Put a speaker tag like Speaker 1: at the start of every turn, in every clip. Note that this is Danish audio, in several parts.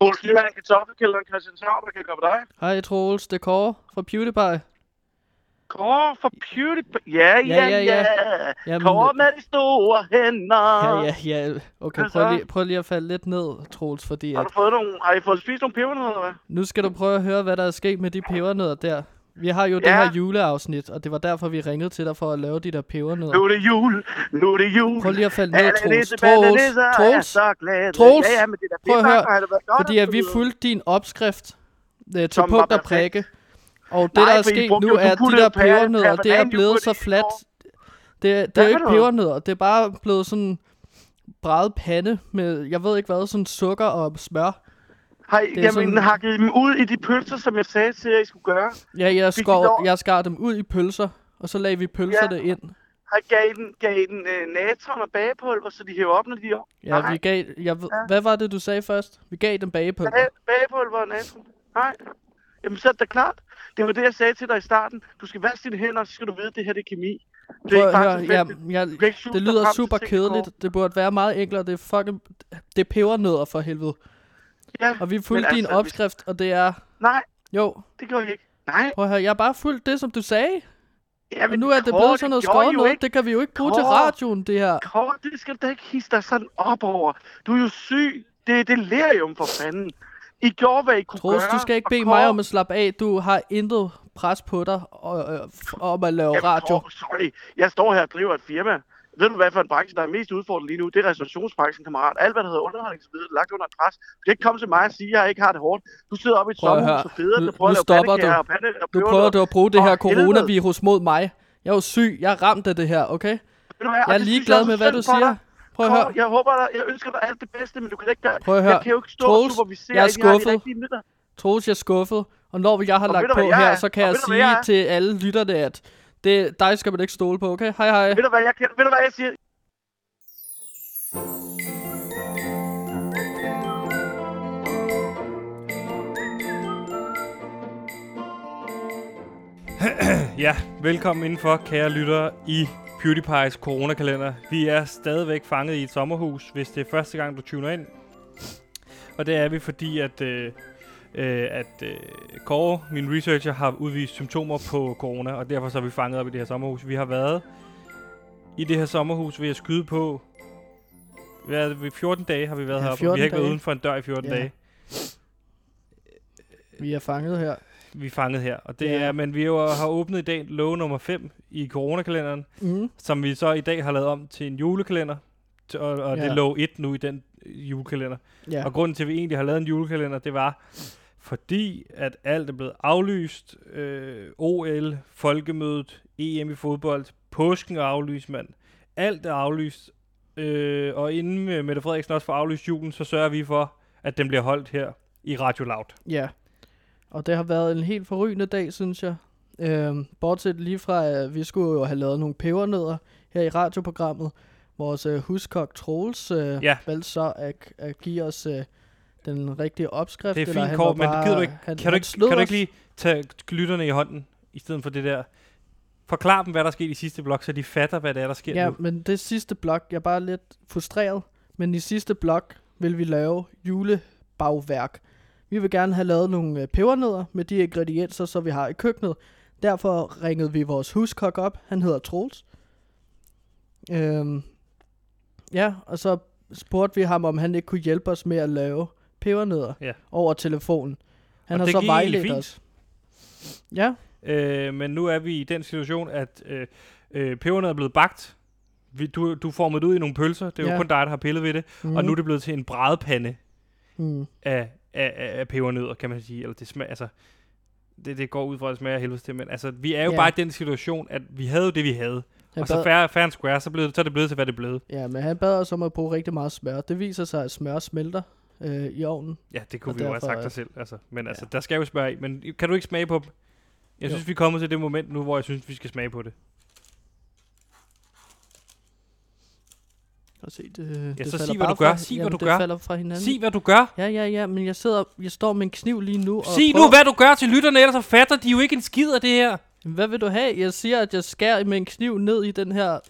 Speaker 1: Troels Nyland, Kartoffelkælderen, Christian Sauber, kan jeg gøre dig?
Speaker 2: Hej Troels, det er Kåre fra PewDiePie.
Speaker 1: Kåre for PewDiePie. Ja, ja, ja.
Speaker 2: ja,
Speaker 1: ja.
Speaker 2: ja.
Speaker 1: ja.
Speaker 2: Jamen,
Speaker 1: Kåre med de store hænder.
Speaker 2: Ja, ja, ja. Okay,
Speaker 1: Hvad så?
Speaker 2: prøv lige, prøv lige at falde lidt ned, Troels, fordi
Speaker 1: Har
Speaker 2: at
Speaker 1: du fået nogle, har I fået spist nogle pebernødder, eller hvad?
Speaker 2: nu skal du prøve at høre, hvad der er sket med de pebernødder der. Vi har jo ja. det
Speaker 1: Ja.
Speaker 2: her juleafsnit, og det var derfor, vi ringede til dig for at lave de der pebernødder.
Speaker 1: Nu er det jul, nu er det jul.
Speaker 2: Prøv lige at falde ned, Troels. Troels, Troels,
Speaker 1: Troels,
Speaker 2: Troels.
Speaker 1: Ja, ja, men det der
Speaker 2: Prøv at høre,
Speaker 1: høre,
Speaker 2: fordi at vi fulgte din opskrift øh, til
Speaker 1: Som var
Speaker 2: punkt og
Speaker 1: perfekt.
Speaker 2: prikke. Og det,
Speaker 1: Nej,
Speaker 2: der er
Speaker 1: for I
Speaker 2: sket
Speaker 1: brugte
Speaker 2: nu,
Speaker 1: jo- du
Speaker 2: er, at de
Speaker 1: puttede
Speaker 2: der
Speaker 1: pære-
Speaker 2: pebernødder, det er
Speaker 1: pære- du
Speaker 2: blevet så
Speaker 1: puttede i
Speaker 2: fladt. Det, det
Speaker 1: Hvad
Speaker 2: er jo ikke
Speaker 1: for noget?
Speaker 2: pebernødder, det er bare blevet sådan bræd pande med, jeg ved ikke hvad, sådan sukker og smør.
Speaker 1: Har I,
Speaker 2: det er
Speaker 1: jamen,
Speaker 2: sådan-
Speaker 1: hakket dem ud i de pølser, som jeg sagde til jer, I skulle gøre?
Speaker 2: Ja, jeg,
Speaker 1: Fik I
Speaker 2: skår,
Speaker 1: lov-
Speaker 2: jeg skar dem ud i pølser, og så lagde vi pølserne
Speaker 1: Ja.
Speaker 2: ind.
Speaker 1: Har I gav I den, gav I den øh, natron og bagepulver, så de hæver op, når de er op?
Speaker 2: Ja,
Speaker 1: Nej.
Speaker 2: vi gav, jeg, ved-
Speaker 1: Ja.
Speaker 2: hvad var det, du sagde først? Vi gav dem bagepulver.
Speaker 1: Bag, bagepulver og natron. Nej. Jamen, så er det da klart. Det var det, jeg sagde til dig i starten. Du skal vaske dine hænder, så skal du vide, at det her det er kemi. Det er
Speaker 2: Prøv
Speaker 1: ikke
Speaker 2: at
Speaker 1: bare
Speaker 2: høre, ja,
Speaker 1: tilfældigt.
Speaker 2: jeg,
Speaker 1: kan ikke skjule dig
Speaker 2: det
Speaker 1: frem
Speaker 2: lyder
Speaker 1: til
Speaker 2: super
Speaker 1: tingene, Kåre.
Speaker 2: kedeligt. Det burde være meget enklere. Det er fucking... Det er pebernødder for helvede.
Speaker 1: Ja,
Speaker 2: Og vi
Speaker 1: men
Speaker 2: fulgte din
Speaker 1: altså, hvis-
Speaker 2: opskrift, og det er...
Speaker 1: Nej,
Speaker 2: Jo,
Speaker 1: det gjorde jeg ikke. Nej,
Speaker 2: prøv at høre, jeg har bare fulgt det, som du sagde.
Speaker 1: jamen,
Speaker 2: Og nu er det
Speaker 1: Kåre,
Speaker 2: blevet sådan noget
Speaker 1: gjorde I
Speaker 2: skåret
Speaker 1: jo
Speaker 2: noget.
Speaker 1: ikke.
Speaker 2: Det kan vi jo ikke bruge til
Speaker 1: Kåre.
Speaker 2: radioen, det her.
Speaker 1: Kåre, det skal du da ikke hisse dig sådan op over. Du er jo syg. Det er delirium for fanden. I gjorde, hvad I kunne
Speaker 2: Troels,
Speaker 1: gøre.
Speaker 2: du skal ikke
Speaker 1: og
Speaker 2: bede
Speaker 1: Kåre-
Speaker 2: mig om at slappe af. Du har intet pres på dig og, øh, f- om at lave
Speaker 1: Jamen,
Speaker 2: radio.
Speaker 1: Kåre, sorry. Jeg står her og driver et firma. Ved du, hvad for en branche, der er mest udfordret lige nu? Det er restaurationsbranchen, kammerat. Alt, hvad der hedder underholdning, så videre, det er lagt under et pres. Du kan ikke komme til mig og sige, at jeg ikke har det hårdt. Du sidder oppe i et
Speaker 2: Prøv at
Speaker 1: sommerhus
Speaker 2: høre.
Speaker 1: og feder,
Speaker 2: Nu-
Speaker 1: du prøver
Speaker 2: nu
Speaker 1: at lave
Speaker 2: stopper
Speaker 1: pandekager
Speaker 2: du.
Speaker 1: og pande, og
Speaker 2: Nu
Speaker 1: pebernødder.
Speaker 2: prøver du at bruge det
Speaker 1: For
Speaker 2: her
Speaker 1: helvede.
Speaker 2: coronavirus mod mig. Jeg er jo syg. Jeg er ramt af det her, okay?
Speaker 1: Ved du hvad, og
Speaker 2: Jeg er
Speaker 1: det synes
Speaker 2: ligeglad
Speaker 1: også
Speaker 2: med,
Speaker 1: er
Speaker 2: hvad
Speaker 1: synd
Speaker 2: du
Speaker 1: for
Speaker 2: siger.
Speaker 1: dig.
Speaker 2: Prøv at
Speaker 1: Kåre,
Speaker 2: høre.
Speaker 1: Jeg håber dig, jeg ønsker dig alt det bedste, men du kan ikke gøre...
Speaker 2: Prøv at
Speaker 1: Jeg
Speaker 2: høre.
Speaker 1: kan jo ikke stå og
Speaker 2: Troels,
Speaker 1: supervisere
Speaker 2: jeg er
Speaker 1: alle de her- de
Speaker 2: skuffet.
Speaker 1: rigtige midler.
Speaker 2: Troels, jeg er skuffet. Og når jeg har
Speaker 1: Og
Speaker 2: lagt
Speaker 1: ved du,
Speaker 2: på
Speaker 1: hvad jeg
Speaker 2: her,
Speaker 1: er?
Speaker 2: så kan
Speaker 1: Og
Speaker 2: jeg
Speaker 1: ved du, hvad
Speaker 2: sige
Speaker 1: jeg er?
Speaker 2: til alle lytterne, at det, dig skal man ikke stole på, okay? Hej hej.
Speaker 1: Ved du, hvad jeg, kan- ved du, hvad jeg siger?
Speaker 3: Ja, velkommen indenfor, kære lyttere, i PewDiePie's coronakalender. Vi er stadigvæk fanget i et sommerhus, hvis det er første gang, du tuner ind. Og det er vi, fordi at, øh, øh, at øh, Kåre, min researcher, har udvist symptomer på corona, og derfor så er vi fanget op i det her sommerhus. Vi har været i det her sommerhus ved at skyde på... Hvad er det, ved 14 dage har vi været
Speaker 2: Ja,
Speaker 3: ja, heroppe, og
Speaker 2: 14
Speaker 3: vi har ikke været
Speaker 2: dage.
Speaker 3: uden for en dør i 14
Speaker 2: Ja.
Speaker 3: ja. dage.
Speaker 2: Vi er fanget her.
Speaker 3: Vi er fanget her, og det
Speaker 2: Ja.
Speaker 3: ja. er, men vi jo har åbnet i dag lov nummer 5 i coronakalenderen.
Speaker 2: Mm.
Speaker 3: som vi så i dag har lavet om til en julekalender. T- Og, og ja.
Speaker 2: Ja.
Speaker 3: det lå et nu i den øh, julekalender.
Speaker 2: Ja.
Speaker 3: Ja. Og grunden til, at vi egentlig har lavet en julekalender, det var fordi, at alt er blevet aflyst. Øh, OL, folkemødet, EM i fodbold, påsken er aflyst, mand. Alt er aflyst. Øh, og inden øh, Mette Frederiksen også får aflyst julen, så sørger vi for, at den bliver holdt her i Radio Loud.
Speaker 2: Ja, og det har været en helt forrygende dag, synes jeg. Øhm, bortset lige fra, at vi skulle jo have lavet nogle pebernødder her i radioprogrammet. Vores øh, huskok Troels øh,
Speaker 3: Ja.
Speaker 2: valgte så at, at give os øh, den rigtige opskrift.
Speaker 3: Det er
Speaker 2: eller
Speaker 3: fint
Speaker 2: han
Speaker 3: kort,
Speaker 2: var
Speaker 3: men
Speaker 2: bare-
Speaker 3: gider du ikke,
Speaker 2: han,
Speaker 3: kan, du
Speaker 2: han
Speaker 3: ikke,
Speaker 2: slog
Speaker 3: kan du
Speaker 2: os.
Speaker 3: ikke lige tage lytterne i hånden, i stedet for det der... Forklar dem, hvad der skete i sidste blok, så de fatter, hvad det er, der sker
Speaker 2: Ja,
Speaker 3: nu.
Speaker 2: men det sidste blok, jeg er bare lidt frustreret, men i sidste blok vil vi lave julebagværk. Vi vil gerne have lavet nogle øh, pebernødder med de ingredienser, som vi har i køkkenet. Derfor ringede vi vores huskok op. Han hedder Troels. Øhm, ja, og så spurgte vi ham, om han ikke kunne hjælpe os med at lave pebernødder
Speaker 3: Ja.
Speaker 2: over telefonen. Han
Speaker 3: Og
Speaker 2: har
Speaker 3: det
Speaker 2: så
Speaker 3: gik egentlig
Speaker 2: vejledt
Speaker 3: fint.
Speaker 2: os. Ja,
Speaker 3: Øh, men nu er vi i den situation, at øh, øh, peberne er blevet bagt. Vi, du, du formede det ud i nogle pølser. Det er
Speaker 2: Ja. Mhm.
Speaker 3: jo kun dig, der har pillet ved det. Mm. Og nu er det blevet til en brædepande
Speaker 2: mm,
Speaker 3: af, af, af, af pebernødder, kan man sige. Eller det smager, altså, det, det går ud fra, at det smager af helvede til. Men altså, vi er jo
Speaker 2: Ja.
Speaker 3: ja. bare i den situation, at vi havde jo det, vi havde.
Speaker 2: han
Speaker 3: og så
Speaker 2: bad-
Speaker 3: fair, fair and square, så, blev det, så er det blevet til, hvad det blev.
Speaker 2: Ja, men han bad os om at bruge rigtig meget smør. Det viser sig, at smør smelter øh, i ovnen.
Speaker 3: Ja, det kunne
Speaker 2: Og
Speaker 3: vi jo have
Speaker 2: derfor
Speaker 3: sagt
Speaker 2: er-
Speaker 3: dig selv. Altså. Men altså,
Speaker 2: Ja.
Speaker 3: der skal jo smage i. Men kan du ikke smage på dem? Jeg
Speaker 2: Jo.
Speaker 3: synes, vi er kommet til det moment nu, hvor jeg synes, vi skal smage på det.
Speaker 2: Og se, det, det
Speaker 3: så
Speaker 2: falder
Speaker 3: sig, hvad
Speaker 2: bare
Speaker 3: du gør.
Speaker 2: Fra,
Speaker 3: Sig, hvad
Speaker 2: jamen,
Speaker 3: du
Speaker 2: det
Speaker 3: gør.
Speaker 2: falder fra hinanden.
Speaker 3: Sig, hvad du gør.
Speaker 2: Ja, ja, ja, men jeg sidder, jeg står med en kniv lige nu. Og
Speaker 3: Sig nu,
Speaker 2: prøver-
Speaker 3: hvad du gør til lytterne, ellers så fatter de jo ikke en skid af det her.
Speaker 2: Hvad vil du have? Jeg siger, at jeg skærer med en kniv ned i den her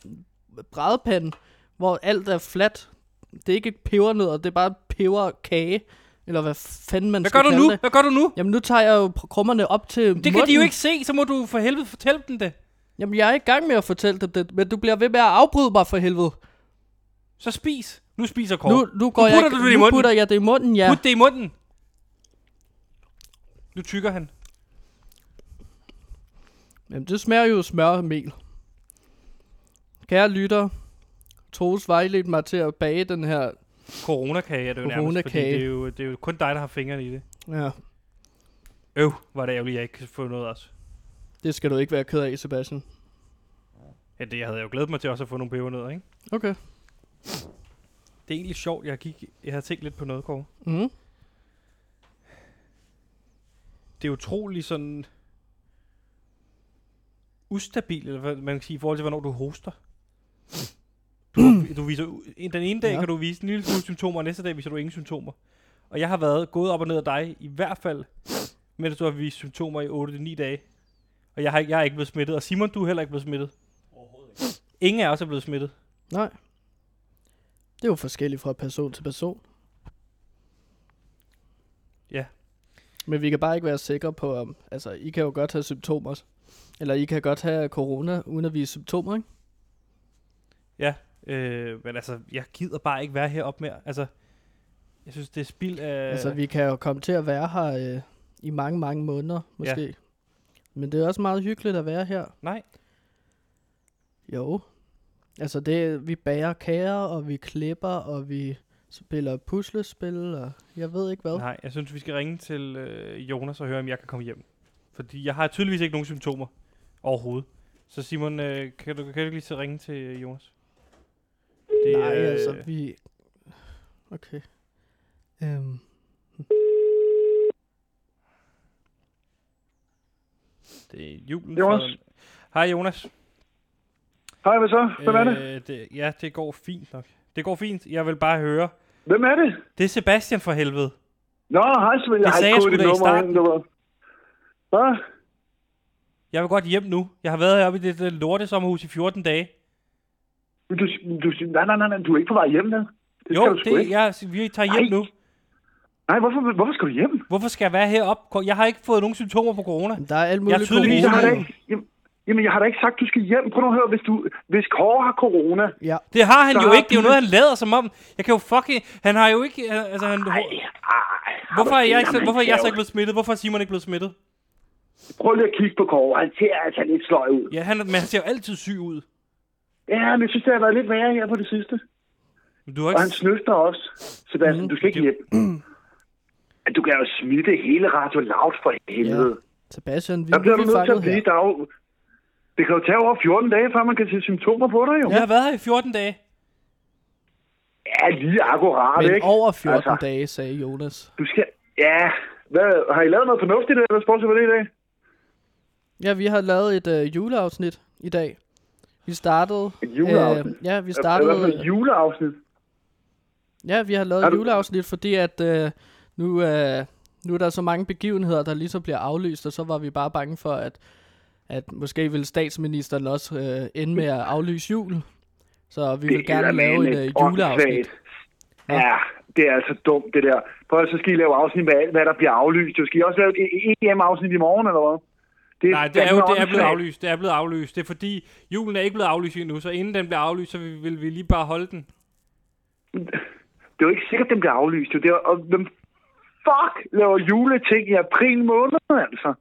Speaker 2: brædepande, hvor alt er fladt. Det er ikke pebernødder, det er bare peberkage. Eller hvad fanden man
Speaker 3: Hvad
Speaker 2: skal
Speaker 3: gør du
Speaker 2: kalde
Speaker 3: nu?
Speaker 2: det.
Speaker 3: Hvad gør du nu?
Speaker 2: Jamen nu tager jeg jo pr- krummerne op til
Speaker 3: Det kan de jo ikke se, så må du for helvede fortælle dem det.
Speaker 2: Jamen jeg er i gang med at fortælle dem det, men du bliver ved med at afbryde mig for helvede.
Speaker 3: Så spis. Nu spiser kort.
Speaker 2: Nu, nu går
Speaker 3: Nu
Speaker 2: jeg,
Speaker 3: putter du det i
Speaker 2: nu
Speaker 3: munden.
Speaker 2: putter jeg det i munden, ja.
Speaker 3: Put det i munden. Nu tykker han.
Speaker 2: Jamen, det smager jo af smør og mel. Kære lytter, Troels vejledte mig til at bage den her...
Speaker 3: Coronakage er det jo nærmest, fordi
Speaker 2: Coronakage.
Speaker 3: det er jo, det er jo kun dig, der har fingrene i det.
Speaker 2: Ja,
Speaker 3: Øv, var det ærgerligt, jeg ikke kan få noget også.
Speaker 2: det skal du ikke være ked af, Sebastian.
Speaker 3: Ja, det jeg havde jeg jo glædet mig til også at få nogle pebernødder, ikke?
Speaker 2: Okay.
Speaker 3: Det er egentlig sjovt, jeg, gik, jeg havde tænkt lidt på noget, Kåre.
Speaker 2: Mm.
Speaker 3: Det er utroligt sådan ustabil, eller hvad man kan sige, i forhold til, hvornår du hoster. Du, du viser, u- en- den ene dag
Speaker 2: Ja.
Speaker 3: ja. kan du vise en lille smule symptomer, og næste dag viser du ingen symptomer. Og jeg har været gået op og ned af dig, i hvert fald, mens du har vist symptomer i 8-9 dage. Og jeg, har, ikke- jeg er ikke blevet smittet, og Simon, du er heller ikke blevet smittet. Ingen af os er blevet smittet.
Speaker 2: Nej. Det er jo forskelligt fra person til person.
Speaker 3: Ja.
Speaker 2: Men vi kan bare ikke være sikre på, om... Altså, I kan jo godt have symptomer. Eller I kan godt have corona, uden at vise symptomer, ikke?
Speaker 3: Øh, men altså, jeg gider bare ikke være heroppe mere. Altså, jeg synes, det er spild af...
Speaker 2: Altså, vi kan jo komme til at være her øh, i mange, mange måneder, måske. Ja. Men det er også meget hyggeligt at være her.
Speaker 3: Nej.
Speaker 2: Jo. Altså, det, vi bager kager, og vi klipper, og vi spiller puslespil, og jeg ved ikke hvad.
Speaker 3: Nej, jeg synes, vi skal ringe til øh, Jonas og høre, om jeg kan komme hjem. Fordi jeg har tydeligvis ikke nogen symptomer overhovedet. Så Simon, øh, kan, du, kan du ikke lige til at ringe til øh, Jonas? Det, øh,
Speaker 2: Nej altså, vi... Okay. Øhm.
Speaker 3: Det er julen.
Speaker 4: Jonas?
Speaker 3: for- Hej Jonas.
Speaker 4: Hej, hvad så? Hvem er det?
Speaker 3: Øh, det? Ja, det går fint nok. Det går fint. Jeg vil bare høre.
Speaker 4: Hvem er det?
Speaker 3: Det er Sebastian for helvede.
Speaker 4: Nå, hej Svend. Jeg har
Speaker 3: sagde
Speaker 4: ikke
Speaker 3: jeg
Speaker 4: gået
Speaker 3: sgu
Speaker 4: dit
Speaker 3: da i
Speaker 4: nummer
Speaker 3: starten.
Speaker 4: ind, du ved. Hvad?
Speaker 3: Jeg vil godt hjem nu. Jeg har været heroppe i det, det lorte sommerhus i 14 dage.
Speaker 4: Men Du, du, nej, nej, nej, nej, du er ikke på vej hjem, vel? Det
Speaker 3: jo,
Speaker 4: skal du sgu
Speaker 3: det,
Speaker 4: ikke.
Speaker 3: jeg, vi tager hjem
Speaker 4: Nej.
Speaker 3: nu.
Speaker 4: Nej, hvorfor, hvorfor skal du hjem?
Speaker 3: Hvorfor skal jeg være heroppe? Ko- Jeg har ikke fået nogen symptomer på corona.
Speaker 2: Der er alt
Speaker 3: Jeg er
Speaker 2: muligt
Speaker 3: tydeligvis-
Speaker 4: Jeg har da
Speaker 2: corona.
Speaker 4: ikke... Jamen, Jamen, jeg har da ikke sagt, du skal hjem. Prøv nu at høre, hvis, du, hvis Kåre har corona...
Speaker 2: Ja,
Speaker 3: Det har han
Speaker 4: Så
Speaker 3: jo
Speaker 4: har
Speaker 3: ikke. Det er jo
Speaker 4: du-
Speaker 3: noget, han lader som om. Jeg kan jo fucking... Han har jo ikke... han- Altså, han,
Speaker 4: Ej, ej,
Speaker 3: hvorfor er jeg, ikke, så-
Speaker 4: jamen,
Speaker 3: hvorfor er jeg så ikke
Speaker 4: ærgerligt.
Speaker 3: blevet smittet? Hvorfor er Simon ikke blevet smittet?
Speaker 4: Prøv lige at kigge på Kåre. Han ser altså lidt sløj ud.
Speaker 3: Ja, han, men han ser jo altid syg ud.
Speaker 4: Ja, men jeg synes, det har været lidt værre her på det sidste.
Speaker 3: Men du har
Speaker 4: Og han
Speaker 3: ikke...
Speaker 4: snøfter også.
Speaker 3: Mm-hmm.
Speaker 4: Sebastian, du skal ikke hjem.
Speaker 3: Mm.
Speaker 4: Du kan jo smitte hele Radio Loud for helvede.
Speaker 2: Ja. Sebastian, vi,
Speaker 4: Der bliver du
Speaker 2: vi
Speaker 4: nødt til at
Speaker 2: fanget
Speaker 4: blive
Speaker 2: her.
Speaker 4: dag. Det kan jo tage over 14 dage, før man kan se symptomer på dig, jo.
Speaker 3: Jeg har været her i 14 dage.
Speaker 4: Ja, lige akkurat,
Speaker 2: Men
Speaker 4: ikke?
Speaker 2: over 14 altså.
Speaker 4: Altså.
Speaker 2: dage, sagde Jonas.
Speaker 4: Du skal... Ja, hvad, har I lavet noget fornuftigt, eller hvad spørger det i dag?
Speaker 2: Ja, vi har lavet et øh, juleafsnit i dag. Vi startede...
Speaker 4: Et juleafsnit?
Speaker 2: Øh, ja, vi
Speaker 4: Hvad for
Speaker 2: startede...
Speaker 4: et juleafsnit?
Speaker 2: Ja, vi har lavet
Speaker 4: Har
Speaker 2: et
Speaker 4: du-
Speaker 2: juleafsnit, fordi at øh, nu, øh, nu er der så mange begivenheder, der ligesom bliver aflyst, og så var vi bare bange for, at, at måske ville statsministeren også øh, ende med at aflyse jul. Så vi vil
Speaker 4: er
Speaker 2: gerne lave
Speaker 4: eddermame
Speaker 2: et øh, juleafsnit.
Speaker 4: åndssvagt. Ja, det er altså dumt, det der. Prøv at så skal I lave afsnit med alt, hvad der bliver aflyst. Du skal I også lave et EM-afsnit i morgen, eller hvad? Det
Speaker 3: Nej, det er jo det er
Speaker 4: fandme
Speaker 3: blevet
Speaker 4: åndssvagt.
Speaker 3: aflyst. Det er blevet aflyst. Det er fordi, julen er ikke blevet aflyst endnu, så inden den bliver aflyst, så vil, vil vi lige bare holde den.
Speaker 4: Det er jo ikke sikkert, den bliver aflyst. jo. Det er, og hvem fuck laver juleting i april måned, altså?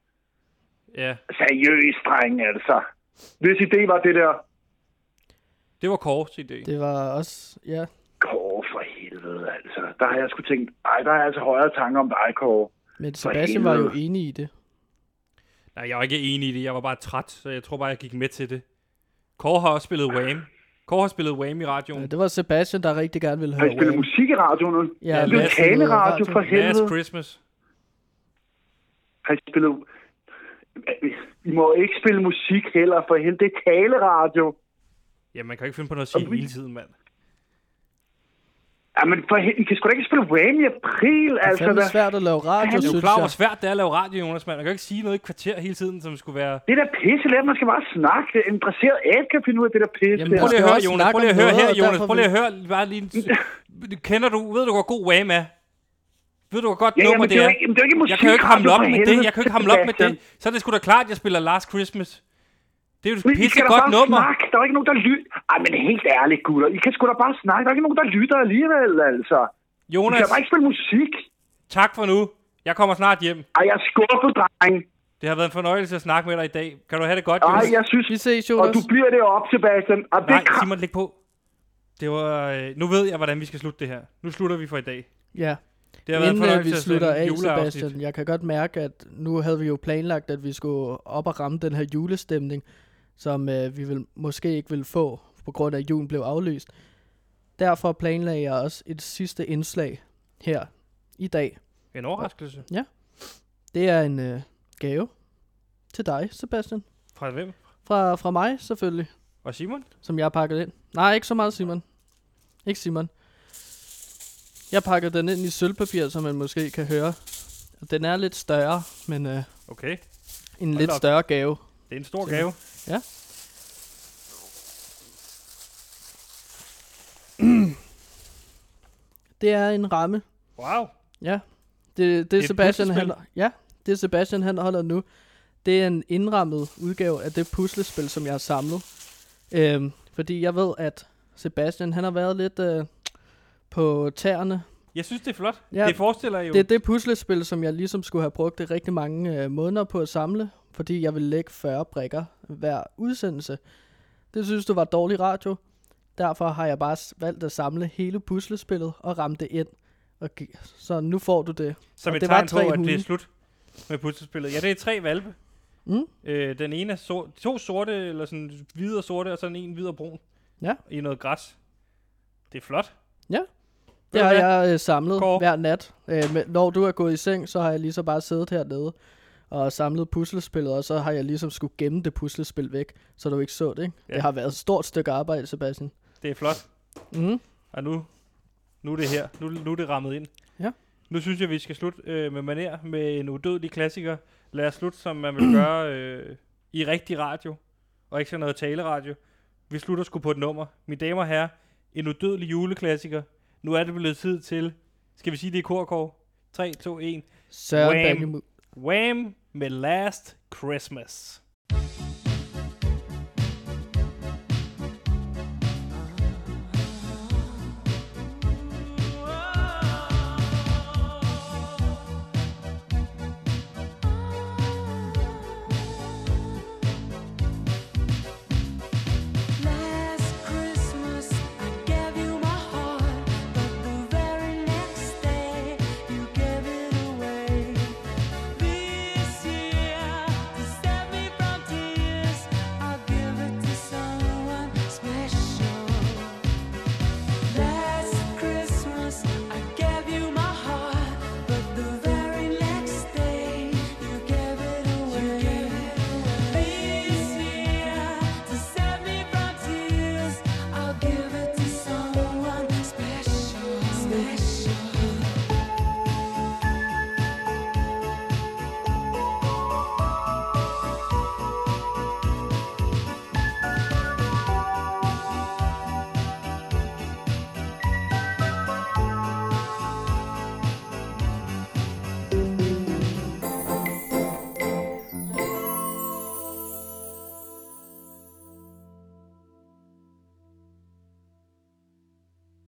Speaker 3: Ja,
Speaker 4: Seriøst, dreng, altså. Hvis idé var det der,
Speaker 3: det var Kors idé.
Speaker 2: Det var også... Ja,
Speaker 4: Kåre for helvede, altså. Der har jeg sgu tænkt, ej, der har jeg altså højere tanker om dig, Kåre.
Speaker 2: men Sebastian var jo enig i det.
Speaker 3: Nej, jeg var ikke enig i det. Jeg var bare træt, så jeg tror bare, jeg gik med til det. Kåre har også spillet Wham. Kåre har spillet Wham i radioen.
Speaker 2: Ja, det var Sebastian, der rigtig gerne ville
Speaker 4: Har
Speaker 2: høre
Speaker 4: I spillet
Speaker 2: Wham.
Speaker 4: musik i radioen nu?
Speaker 2: Ja,
Speaker 4: det er jo
Speaker 3: Mads
Speaker 4: taleradio
Speaker 2: spillede
Speaker 4: for
Speaker 2: radio.
Speaker 3: Last
Speaker 4: helvede.
Speaker 3: Christmas.
Speaker 4: Har I spillet... I må ikke spille musik heller, for helvede. Det er taleradio.
Speaker 3: Ja, man kan jo ikke finde på noget at sige
Speaker 4: Og vi-
Speaker 3: hele tiden, mand.
Speaker 4: Jamen, for helvede, I kan sgu da ikke spille Wham i april,
Speaker 2: Det er
Speaker 4: altså.
Speaker 2: fandme
Speaker 4: hvad-
Speaker 2: svært at lave
Speaker 4: Han
Speaker 2: radio,
Speaker 4: er
Speaker 3: Du er
Speaker 2: synes
Speaker 3: klar over, hvor
Speaker 2: jeg.
Speaker 3: svært det er at lave radio, Jonas, mand. Man kan jo ikke sige noget i et kvarter hele tiden, som skulle være...
Speaker 4: Det der pisse lært, man skal bare snakke. Det er En dresseret ad kan finde ud af det der pisse.
Speaker 2: Jamen,
Speaker 4: Jamen,
Speaker 3: Prøv lige
Speaker 2: skal
Speaker 3: at høre,
Speaker 2: også
Speaker 3: Jonas.
Speaker 2: snakke
Speaker 3: Prøv lige at
Speaker 2: om
Speaker 3: høre
Speaker 2: noget,
Speaker 3: her,
Speaker 2: og
Speaker 3: Jonas.
Speaker 2: derfor
Speaker 3: Prøv lige at høre bare lige... en s- Kender du... Ved du, hvor god Wham er? Ved du, hvor godt
Speaker 4: Ja,
Speaker 3: nummer
Speaker 4: jamen,
Speaker 3: det
Speaker 4: det er
Speaker 3: er?
Speaker 4: jo ikke, jamen, det er jo ikke musik.
Speaker 3: Jeg kan jo ikke hamle
Speaker 4: radio
Speaker 3: op
Speaker 4: for
Speaker 3: med
Speaker 4: helvede,
Speaker 3: det. Jeg kan jo ikke hamle op med
Speaker 4: Sebastian.
Speaker 3: det. Så er det sgu da klart, at jeg spiller Last Christmas. Det er jo
Speaker 4: Men
Speaker 3: et
Speaker 4: I
Speaker 3: pisse
Speaker 4: skal da
Speaker 3: godt
Speaker 4: bare
Speaker 3: nummer.
Speaker 4: Snakke. Der er jo ikke nogen, der lytter. Ej, men helt ærligt, gutter. I kan sgu da bare snakke. Der er ikke nogen, der lytter alligevel, altså. I
Speaker 3: Jonas,
Speaker 4: kan bare ikke spille musik.
Speaker 3: tak for nu. Jeg kommer snart hjem.
Speaker 4: Ej, jeg er skuffet, dreng.
Speaker 3: Det har været en fornøjelse at snakke med dig i dag. Kan du have det godt,
Speaker 4: Ej,
Speaker 3: Jonas?
Speaker 4: jeg synes...
Speaker 2: Vi ses,
Speaker 4: Og
Speaker 2: Jonas.
Speaker 4: du bliver det op, Sebastian. Og det
Speaker 3: Nej,
Speaker 4: kra-
Speaker 3: Simon, læg på. Det var, øh, nu ved jeg, hvordan vi skal slutte det her. Nu slutter vi for i dag.
Speaker 2: Ja.
Speaker 3: Det har været en
Speaker 2: Inden øh,
Speaker 3: fornøjelse
Speaker 2: vi
Speaker 3: at
Speaker 2: slutter
Speaker 3: sende
Speaker 2: af,
Speaker 3: juleafsnit.
Speaker 2: Sebastian, jeg kan godt mærke, at nu havde vi jo planlagt, at vi skulle op og ramme den her julestemning, som øh, vi vil, måske ikke ville få, på grund af, at julen blev aflyst. Derfor planlagde jeg også et sidste indslag her i dag.
Speaker 3: En overraskelse.
Speaker 2: Det er en øh, gave til dig, Sebastian.
Speaker 3: Fra hvem?
Speaker 2: Fra, fra mig, selvfølgelig,
Speaker 3: Og Simon?
Speaker 2: som jeg har pakket ind. Nej, ikke så meget, Simon. Ikke Simon. Jeg pakkede den ind i sølvpapir, som man måske kan høre. Den er lidt større, men... Øh,
Speaker 3: Okay.
Speaker 2: En
Speaker 3: Hold
Speaker 2: lidt
Speaker 3: op.
Speaker 2: større gave.
Speaker 3: Det er en stor
Speaker 2: Simon.
Speaker 3: gave.
Speaker 2: Ja. Det er en ramme.
Speaker 3: Wow.
Speaker 2: Ja. Det, det er
Speaker 3: Et
Speaker 2: Sebastian, han,
Speaker 3: puslespil?
Speaker 2: ja, det er Sebastian, han holder nu. Det er en indrammet udgave af det puslespil, som jeg har samlet. Øhm, fordi jeg ved, at Sebastian, han har været lidt øh, på tæerne.
Speaker 3: Jeg synes, det er flot.
Speaker 2: Ja.
Speaker 3: Det forestiller jeg jo.
Speaker 2: Det er det puslespil, som jeg ligesom skulle have brugt rigtig mange øh, måneder på at samle. Fordi jeg ville lægge 40 brikker hver udsendelse. Det synes du var dårlig radio. Derfor har jeg bare s- valgt at samle hele puslespillet og ramme det ind. Og gi- så nu får du det.
Speaker 3: Som
Speaker 2: Og
Speaker 3: et
Speaker 2: det var
Speaker 3: tegn på,
Speaker 2: tre
Speaker 3: at det er
Speaker 2: hunde.
Speaker 3: slut med puslespillet. Ja, det er tre valpe.
Speaker 2: Mm.
Speaker 3: Øh, den ene er so- to sorte, eller sådan hvide og sorte, og sådan en hvid og brun.
Speaker 2: Ja.
Speaker 3: I noget græs. Det er flot.
Speaker 2: Ja.
Speaker 3: Ved
Speaker 2: Det
Speaker 3: du
Speaker 2: har
Speaker 3: hvad?
Speaker 2: jeg øh, samlet
Speaker 3: Kåre?
Speaker 2: hver nat. Øh, men når du er gået i seng, så har jeg lige så bare siddet hernede og samlet puslespillet, og så har jeg ligesom skulle gemme det puslespil væk, så du ikke så det, ikke?
Speaker 3: Ja.
Speaker 2: Det har været et stort stykke arbejde, Sebastian.
Speaker 3: Det er flot.
Speaker 2: Mm.
Speaker 3: Og nu, nu er det her. Nu, nu er det rammet ind.
Speaker 2: Ja.
Speaker 3: Nu synes jeg, vi skal slutte øh, med maner med en udødelig klassiker. Lad os slutte, som man vil gøre øh, i rigtig radio. Og ikke sådan noget taleradio. Vi slutter sgu på et nummer. Mine damer og herrer, en udødelig juleklassiker. Nu er det blevet tid til, skal vi sige det i korkår? 3, 2, 1.
Speaker 2: Søren
Speaker 3: Wham.
Speaker 2: Bandimu-
Speaker 3: Wham med Last Christmas.